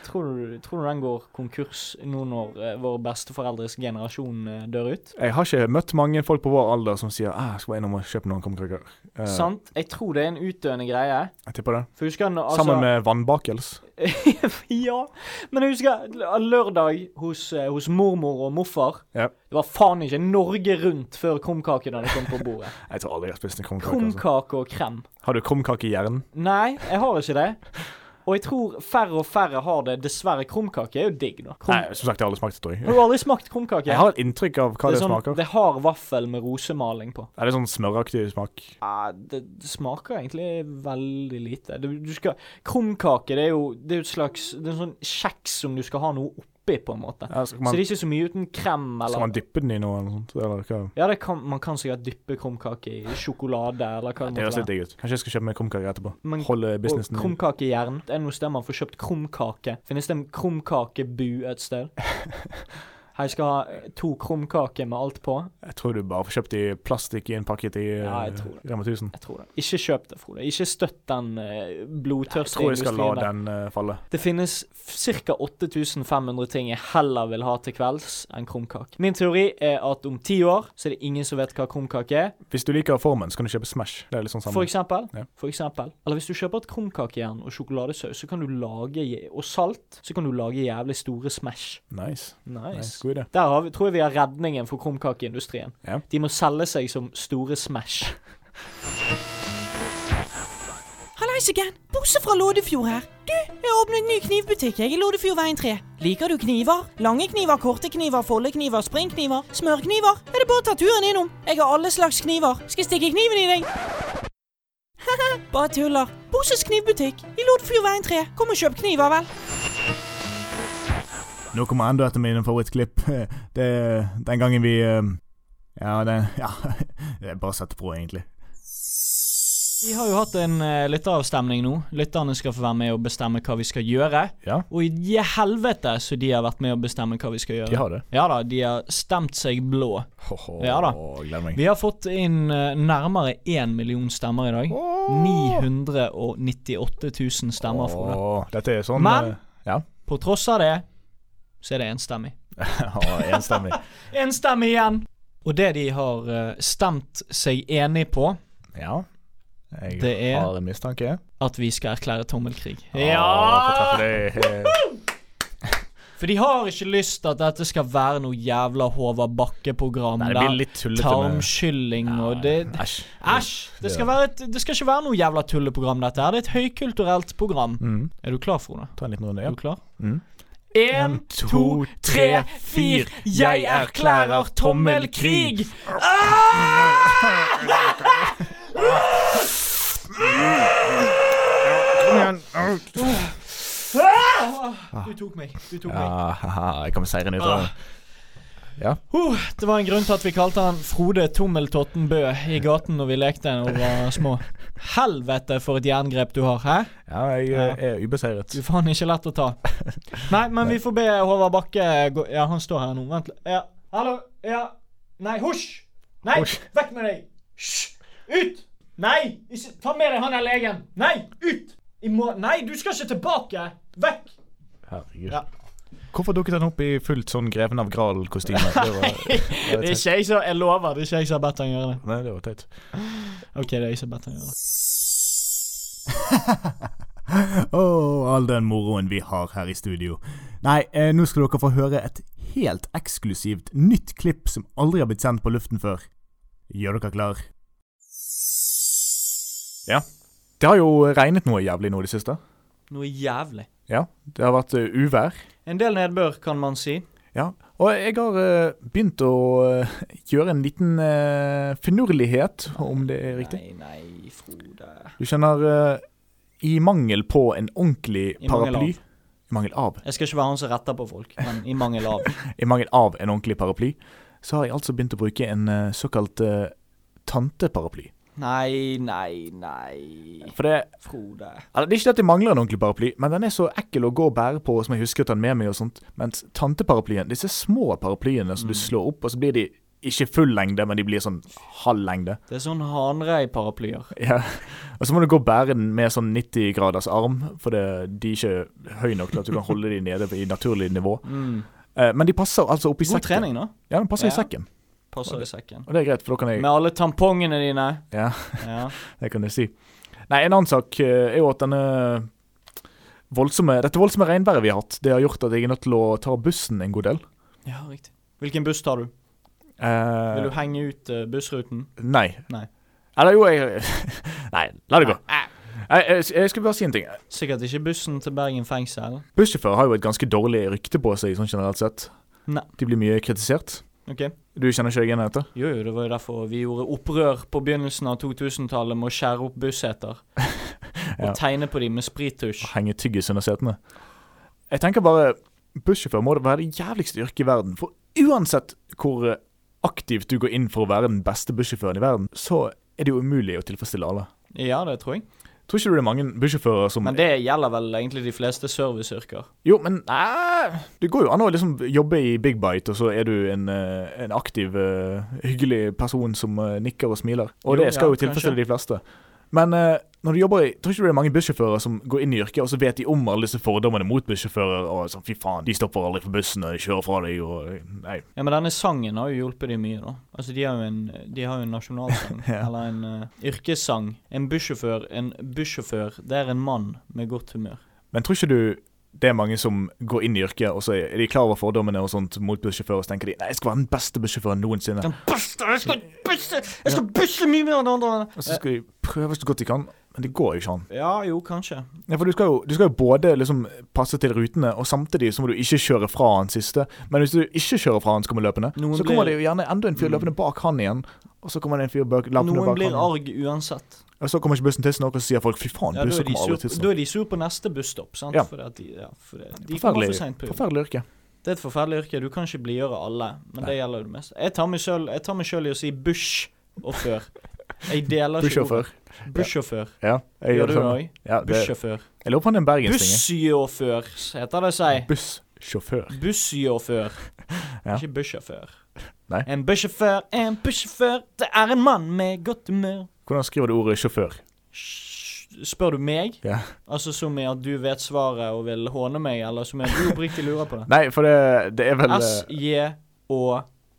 tror, du, tror du den går konkurs nå når eh, våre besteforeldres generasjon eh, dør ut?
Jeg har ikke møtt mange folk på vår alder som sier ah, jeg skal bare innom og kjøpe noen kumkaker. Eh,
Sant? Jeg tror det er en utdøende greie.
Jeg tipper det.
For husker han, altså,
Sammen med vannbakels.
ja. Men jeg husker l- lørdag hos, eh, hos mormor og morfar.
Ja.
Det var faen ikke Norge rundt før krumkakene hadde kommet på bordet.
Jeg tror aldri jeg har spist en krumkake. Altså.
Krumkake og krem.
Har du krumkakehjern?
Nei, jeg har ikke det. Og jeg tror færre og færre har det. Dessverre, krumkake er jo digg, da. Krum...
Nei, som sagt, jeg har aldri smakt det, tror jeg.
Har du aldri smakt krumkake?
Jeg har et inntrykk av hva det,
sånn,
smaker.
Det har vaffel med rosemaling på.
Er det sånn smøraktig smak?
Ja, det, det smaker egentlig veldig lite. Du, du skal, krumkake det er jo det er jo et slags Det er en sånn kjeks som du skal ha noe oppi, på en måte.
Ja, skal man-
Så det er ikke så mye uten krem eller
Skal man dyppe den i noe eller noe sånt? Eller hva?
Ja, det kan, man kan sikkert dyppe krumkake i sjokolade eller hva
Det høres litt digg ut. Kanskje jeg skal kjøpe meg krumkaker etterpå.
Men-
Holde businessen
Og
min.
krumkakejern. Det er noe sted man får kjøpt krumkake. Finnes det en krumkakebu et sted? Her skal ha to krumkaker med alt på.
Jeg tror du bare får kjøpt i plastikk i en pakket i
Ja,
eh,
jeg tror det.
Rema 1000.
Jeg tror det. Ikke kjøp det, Frode. Ikke støtt den eh, blodtørste
Jeg tror jeg skal la
industrien der.
den eh, falle.
Det finnes ca. 8500 ting jeg heller vil ha til kvelds enn krumkake. Min teori er at om ti år så er det ingen som vet hva krumkake er.
Hvis du liker formen, så kan du kjøpe Smash. Det er litt sånn samme.
For eksempel,
Ja.
for eksempel. Eller hvis du kjøper et krumkakejern og sjokoladesaus, så kan du lage, je- og salt, så kan du lage jævlig store Smash.
Nice.
Nice.
Nice, god idé.
Der har vi, tror jeg vi har redningen for krumkakeindustrien.
Ja.
De må selge seg som store Smash.
Hallais igjen! Bosse fra Lådefjord her. Du, jeg har åpnet en ny knivbutikk jeg i Lådefjordveien 3. Liker du kniver? Lange kniver, korte kniver, foldekniver, springkniver, smørkniver? Er det bare å ta turen innom? Jeg har alle slags kniver. Skal jeg stikke kniven i deg? Haha, bare tuller. Bosses knivbutikk i Lådefjordveien 3. Kom og kjøp kniver, vel.
Nå kommer enda et av mine favorittklipp. Det er den gangen vi eh, Ja, den Ja, det er bare å sette på, egentlig.
Vi har jo hatt en eh, lytteravstemning nå. Lytterne skal få være med og bestemme hva vi skal gjøre. Og i je- helvete så de har vært med å bestemme hva vi skal gjøre.
De har det.
Ja da, de har stemt seg blå. ja da.
gleder meg.
Vi har fått inn eh, nærmere én million stemmer i dag. 998 000 stemmer, Frode.
Åh, dette er sånn
Men
eh, ja.
på tross av det, så er det enstemmig.
Ja, enstemmig.
enstemmig igjen! Og det de har eh, stemt seg enig på,
Ja. Jeg
det er
har en mistanke.
at vi skal erklære tommelkrig.
Ja! deg.
For de har ikke lyst til at dette skal være noe jævla Håvard Bakke-program.
Nei, det blir litt tullete med-
Tarmskylling og det Æsj. Det skal, være et, det skal ikke være noe jævla tulleprogram, dette her. Det er et høykulturelt program.
Mm.
Er du klar, Frode?
Ta en liten runde, ja.
Er du klar?
Mm.
En, to, tre, fire. Jeg erklærer tommelkrig!
Kom igjen.
Ah! Du tok meg. Du tok meg.
Ah,
Ja, haha, jeg kommer seirende
Ah.
ut av det. Ja.
Uh, det var en grunn til at vi kalte han Frode Tommeltotten Bø i gaten når vi lekte da vi var små. Helvete for et jerngrep du har, hæ?
Ja, jeg eh, er ubeseiret.
Du er faen ikke lett å ta. Nei, men vi får be Håvard Bakke gå Ja, han står her nå. Vent litt. Ja. Hallo? Ja. Nei, hysj! Nei, vekk med deg! Hysj! Ut! Nei! Ikke, ta med deg han der legen! Nei, ut! I må, nei, du skal ikke tilbake! Vekk!
Herregud.
Ja.
Hvorfor dukket han opp i fullt sånn Greven av Gral-kostyme? Det var-
det er ikke jeg som Jeg lover, det er ikke jeg som har bedt han gjøre det.
Nei, det var teit.
OK, det er jeg som har bedt han gjøre det.
Å, all den moroen vi har her i studio. Nei, eh, nå skal dere få høre et helt eksklusivt nytt klipp som aldri har blitt sendt på luften før. Gjør dere klar?
Ja. Det har jo regnet noe jævlig nå i det siste.
Noe jævlig.
Ja. Det har vært eh, uvær.
En del nedbør, kan man si.
Ja. Og jeg har eh, begynt å eh, gjøre en liten eh, finurlighet, om det er riktig.
Nei, nei, Frode.
Du skjønner, eh, i mangel på en ordentlig
I mangel
paraply
av.
I mangel av.
Jeg skal ikke være han som retter på folk, men i mangel av.
I mangel av en ordentlig paraply, så har jeg altså begynt å bruke en eh, såkalt eh, tanteparaply.
Nei, nei, nei.
For det
Frode.
Eller, det er ikke det at jeg mangler en ordentlig paraply, men den er så ekkel å gå og bære på
Mm.
som jeg husker å ta den med meg og sånt. Mens tanteparaplyen, disse små paraplyene som du slår opp, og så blir de ikke full lengde, men de blir sånn halv lengde.
Det er sånn hanrei-paraplyer.
Ja. Og så må du gå og bære den med sånn 90 graders arm, for det, de er ikke høy nok til at du kan holde de nede i naturlig nivå.
Mm.
Eh, Men de passer altså oppi
God
sekken.
trening, da.
Ja, den passer
Ja.
i sekken.
Passer i sekken.
Og det er greit, for da kan jeg
Med alle tampongene dine.
Ja,
Ja.
det kan jeg si. Nei, en annen sak eh, er jo at denne voldsomme, dette voldsomme regnværet vi har hatt, det har gjort at jeg er nødt til å ta bussen en god del.
Ja, riktig. Hvilken buss tar du?
Eh,
Vil du henge ut eh, bussruten?
Nei.
Nei.
Eller jo, jeg Nei, la det gå.
eh.
Jeg, jeg, jeg skulle bare si en ting.
Sikkert ikke bussen til Bergen fengsel.
Bussjåfører har jo et ganske dårlig rykte på seg, sånn generelt sett.
Nei.
De blir mye kritisert.
Ok.
Du kjenner ikke deg igjen i dette?
Jo, jo, det var jo derfor vi gjorde opprør på begynnelsen av 2000-tallet med å skjære opp busseter. Og
Ja.
tegne på dem med sprittusj.
Henge tyggis under setene. Jeg tenker bare Bussjåfør må det være det jævligste yrket i verden. For uansett hvor eh, aktivt du går inn for å være den beste bussjåføren i verden, så er det jo umulig å tilfredsstille alle.
Ja, det tror jeg.
Tror ikke du det er mange bussjåfører som
Men det gjelder vel egentlig de fleste serviceyrker.
Jo, men nei, det går jo an å liksom jobbe i Big Bite, og så er du en, eh, en aktiv, eh, hyggelig person som eh, nikker og smiler. Og
Jo,
det skal
ja,
jo tilfredsstille
kanskje.
de fleste. Men eh, når du jobber i, tror ikke du det er mange bussjåfører som går inn i yrket, og så vet de om alle disse fordommene mot bussjåfører, og sånn, fy faen, de stopper aldri for bussen, og de kjører fra deg, og nei.
Ja, Men denne sangen har jo hjulpet dem mye, da. Altså, De har jo en, de har jo en nasjonalsang, eller en eh, yrkessang. En bussjåfør, en bussjåfør, det er en mann med godt humør.
Men tror ikke du det er mange som går inn i yrket, og så er de klar over fordommene og sånt mot bussjåfører, og så tenker de, nei, jeg skal være den beste bussjåføren noensinne.
Buster, jeg skal busse Jeg skal busse mye mer enn andre!
Og så skal de prøve så godt de kan, men det går jo ikke an.
Ja, jo, kanskje.
Ja, for du skal, jo, du skal jo både liksom passe til rutene, og samtidig så må du ikke kjøre fra han siste. Men hvis du ikke kjører fra han som kommer løpende,
Noen
så kommer
blir- Mm.
det jo gjerne enda en fyr løpende bak han igjen. Og så kommer det en fyr bak, løpende
Noen
bak
blir
han.
arg uansett.
Og så kommer ikke bussen tidsnok, og så sier folk 'fy faen,
Ja, da,
bussen
er de
kommer
sur,
aldri
da
tidsnok'.
er de sur på neste busstopp. sant?
Ja.
Fordi at de, ja, for det, de kommer for
Forferdelig,
sent på jobb.
forferdelig yrke.
Det er et forferdelig yrke. Du kan ikke blidgjøre alle, men det gjelder jo det meste. Jeg tar meg selv- jeg tar meg sjøl i å si bush og før. Jeg deler ikke
Bussjåfør.
ordet. Bussjåfør.
Ja, jeg
Gjør
gjør det
du det
samme.
òg?
Ja, det-
Bussjåfør.
Jeg lurer på om det er en bergensting.
Bussjåfør, heter det seg.
Bussjåfør.
Bussjåfør.
Ja.
Ikke bussjåfør.
Nei.
En bussjåfør, en bussjåfør, det er en mann med godt humør.
Hvordan skriver du ordet sjåfør?
Spør du meg?
Ja.
Altså som i at du vet svaret og vil håne meg, eller som i at du oppriktig lurer på det?
Nei, for det, det er vel eh,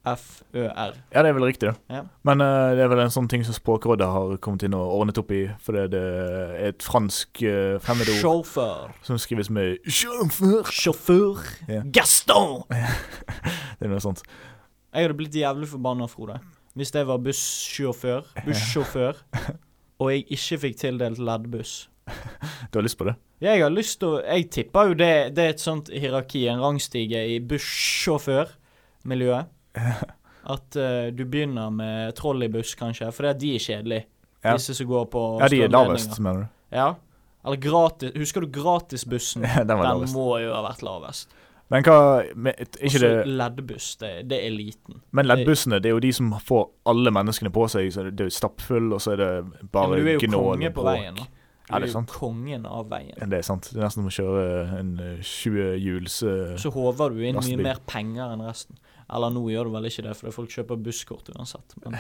S-J-Å-F-Ø-R.
Ja, det er vel riktig, det.
Ja.
Men eh, det er vel en sånn ting som Språkrådet har kommet inn og ordnet opp i, fordi det er et fransk uh, fremmedord
Sjåfør.
som skrives med
Sjåfør. Sjåfør.
Ja.
Gaston!
Det er noe sånt.
Jeg hadde blitt jævlig forbanna, Frode, hvis jeg var bussjåfør, bussjåfør, og jeg ikke fikk tildelt leddbuss.
Du har lyst på det?
Jeg har lyst til å Jeg tipper jo det, det er et sånt hierarki, en rangstige i bussjåførmiljøet. At eh, du begynner med trolleybuss, kanskje, for det er de er kjedelige.
Ja.
Disse som går på
Ja, de er
strømledninger.
lavest, mener du?
Ja. Eller gratis Husker du gratisbussen?
Ja, den var lavest.
må jo ha vært lavest.
Men hva men, et-
Og
ikke
så
det,
leddbuss. Det, Altså, det er eliten.
Men leddbussene, det er jo de som får alle menneskene på seg. Så det er jo stappfull, og så er det
Ja,
bare
men du er jo
gnål
konge
og
på
bråk.
veien. da.
Ja,
Du
det er
er jo
sant.
kongen av veien.
Det er sant. Det er nesten som å kjøre en eh, 20 hjuls eh,
Så håver du inn
lastebil.
mye mer penger enn resten. Eller nå gjør du vel ikke det, fordi folk kjøper busskort uansett. Men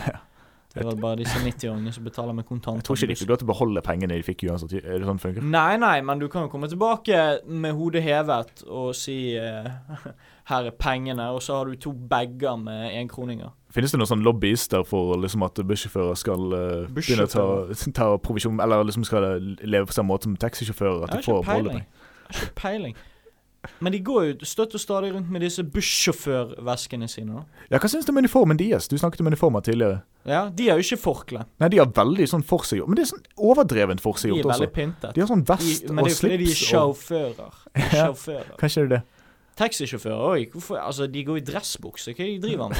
det er vel bare disse 90-åringene som betaler med kontant.
Jeg tror ikke de fikk lov til å beholde pengene de fikk uansett. Er det sånn det funker?
Nei, nei, men du kan jo komme tilbake med hodet hevet og si eh, 'her er pengene', og så har du to bager med enkroninger.
Finnes det noen sånn lobbyister for liksom at bussjåfører skal eh, begynne å ta, ta provisjon, eller liksom skal leve på samme måte som taxisjåfører? At de
Jeg har
får
ikke
beholde
peiling.
penger?
Jeg har ikke peiling. Men de går jo støtt og stadig rundt med disse bussjåførveskene sine. da.
Ja, hva syns du om uniformen deres? Du snakket om uniformer tidligere.
Ja, De har jo ikke forkle.
Nei, de har veldig sånn forseggjort, men det er sånn overdrevent
De
forseggjort
er
også.
veldig pyntet.
De har sånn vest
De- Men det
og
er jo fordi de er
slips og
sjåfører. De er
Ja,
sjåfører.
Kanskje det er det.
Taxisjåfører òg. Hvorfor- Altså, de går i dressbukse. Hva er det de driver med?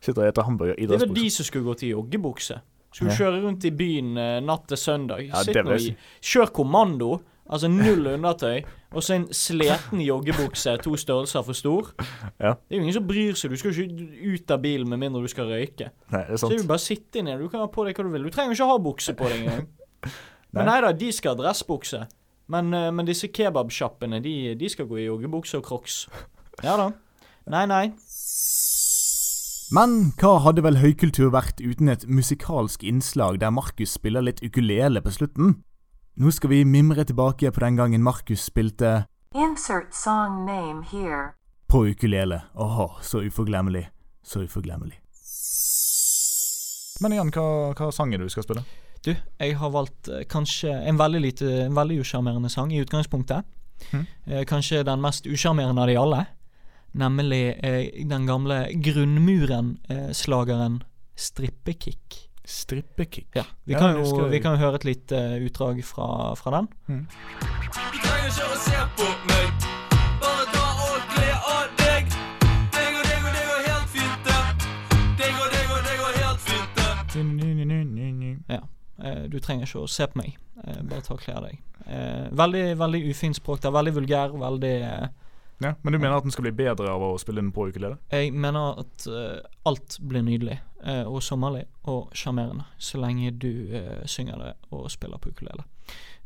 Sitter og spiser hamburger i
Det var
dressbukse.
de som skulle gå til joggebukse. Skulle
Ja.
kjøre rundt i byen eh, natt til søndag.
Ja,
Sitt
det vil
nå
jeg
i Kjør kommando. Altså null undertøy, og så en sleten joggebukse to størrelser for stor.
Ja.
Det er jo ingen som bryr seg. Du skal jo ikke ut av bilen med mindre du skal røyke.
Nei, det er
Så
sant.
er det jo bare å sitte ned. Du kan ha på deg hva du vil. Du trenger ikke ha bukse på deg engang. Men
Nei.
nei da, de skal ha dressbukse. Men, eh, men disse kebabsjappene, de, de skal gå i joggebukse og crocs. Ja da. Nei, nei.
Men hva hadde vel høykultur vært uten et musikalsk innslag der Markus spiller litt ukulele på slutten? Nå skal vi mimre tilbake på den gangen Markus spilte
Insert song name here.
på ukulele. Åh, så uforglemmelig. Så uforglemmelig.
Men igjen, hva, hva sang er det du skal spille?
Du, jeg har valgt eh, kanskje en veldig lite, en veldig usjarmerende sang i utgangspunktet.
Mhm.
Eh, kanskje den mest usjarmerende av de alle. Nemlig eh, den gamle Grunnmuren-slageren Strippekick.
Strippekick?
Ja. Vi
Ja,
kan,
jeg
jo,
husker-
vi kan jo høre et lite eh, utdrag fra, fra den.
Du trenger ikke å se på meg. Bare dra og kle av deg. Deg og deg og deg og helt fint, det. Deg og deg og deg og helt fint, det.
Ja. eh, Du trenger ikke å se på meg. Eh, Bare ta og kle av deg. Eh, Veldig veldig ufint språk der. Veldig vulgær. Veldig eh,
Ja, Men du mener at den skal bli bedre av å spille den på ukulele?
Jeg mener at eh, alt blir nydelig eh, og sommerlig og sjarmerende så lenge du eh, synger det og spiller på ukulele.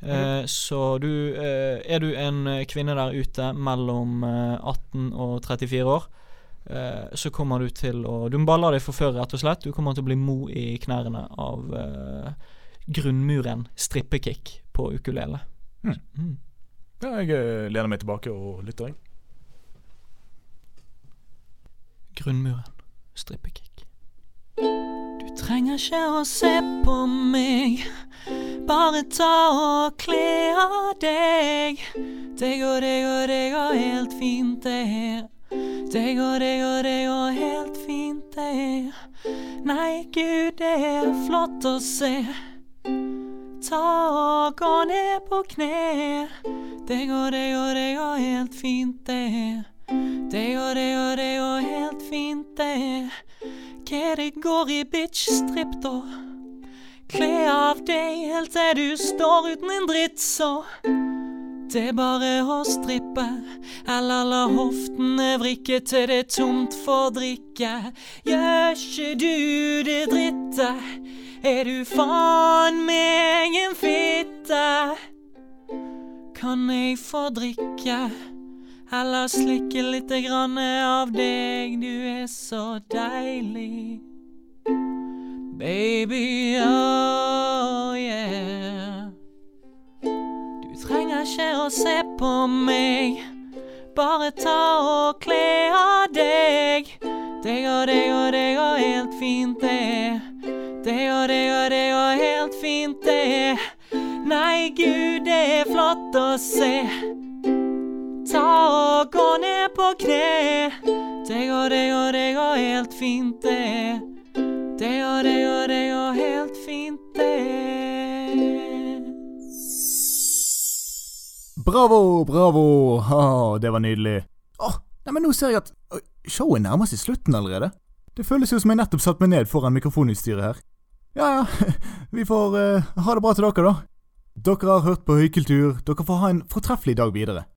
Eh, så du eh, Er du en eh, kvinne der ute mellom eh, 18 og 34 år, eh, så kommer du til å Du må bare la deg forføre, rett og slett. Du kommer til å bli mo i knærne av eh, grunnmuren strippekick på ukulele.
Ja, jeg eh, lener meg tilbake og lytter, jeg.
Grunnmuren strippekick.
Du trenger ikke å se på meg. Bare ta og kle av deg. Det går, det går, det går helt fint, det her. Det går, det går, det går helt fint, det her. Nei, gud, det er flott å se. Ta og gå ned på kne. Det går, det går, det går helt fint, det her. Det går, det går, det går helt fint, det her. Hva det går i, bitch, stripp da. Kle av deg helt til du står uten en dritt, så. Det er bare å strippe, eller la hoftene vrikke til det er tomt for drikke. Gjør ikke du det dritte, er du faen meg en fitte. Kan jeg få drikke, eller slikke lite grann av deg, du er så deilig. Baby, oh yeah. Du trenger ikke å se på meg. Bare ta og kle av deg. Det går, det går, det går helt fint, det. Det går, det går, det går helt fint, det. Nei, gud, det er flott å se. Ta og gå ned på kne. Det går, det går, det går helt fint, det. Det går, det går, det går helt fint, det.
Bravo, bravo! Ha, det var nydelig. Åh, nei, men nå ser jeg at Oi, showet nærmer seg slutten allerede. Det føles jo som jeg nettopp satte meg ned foran mikrofonutstyret her. Ja, ja, vi får eh, ha det bra til dere, da. Dere har hørt på Høykultur. Dere får ha en fortreffelig dag videre.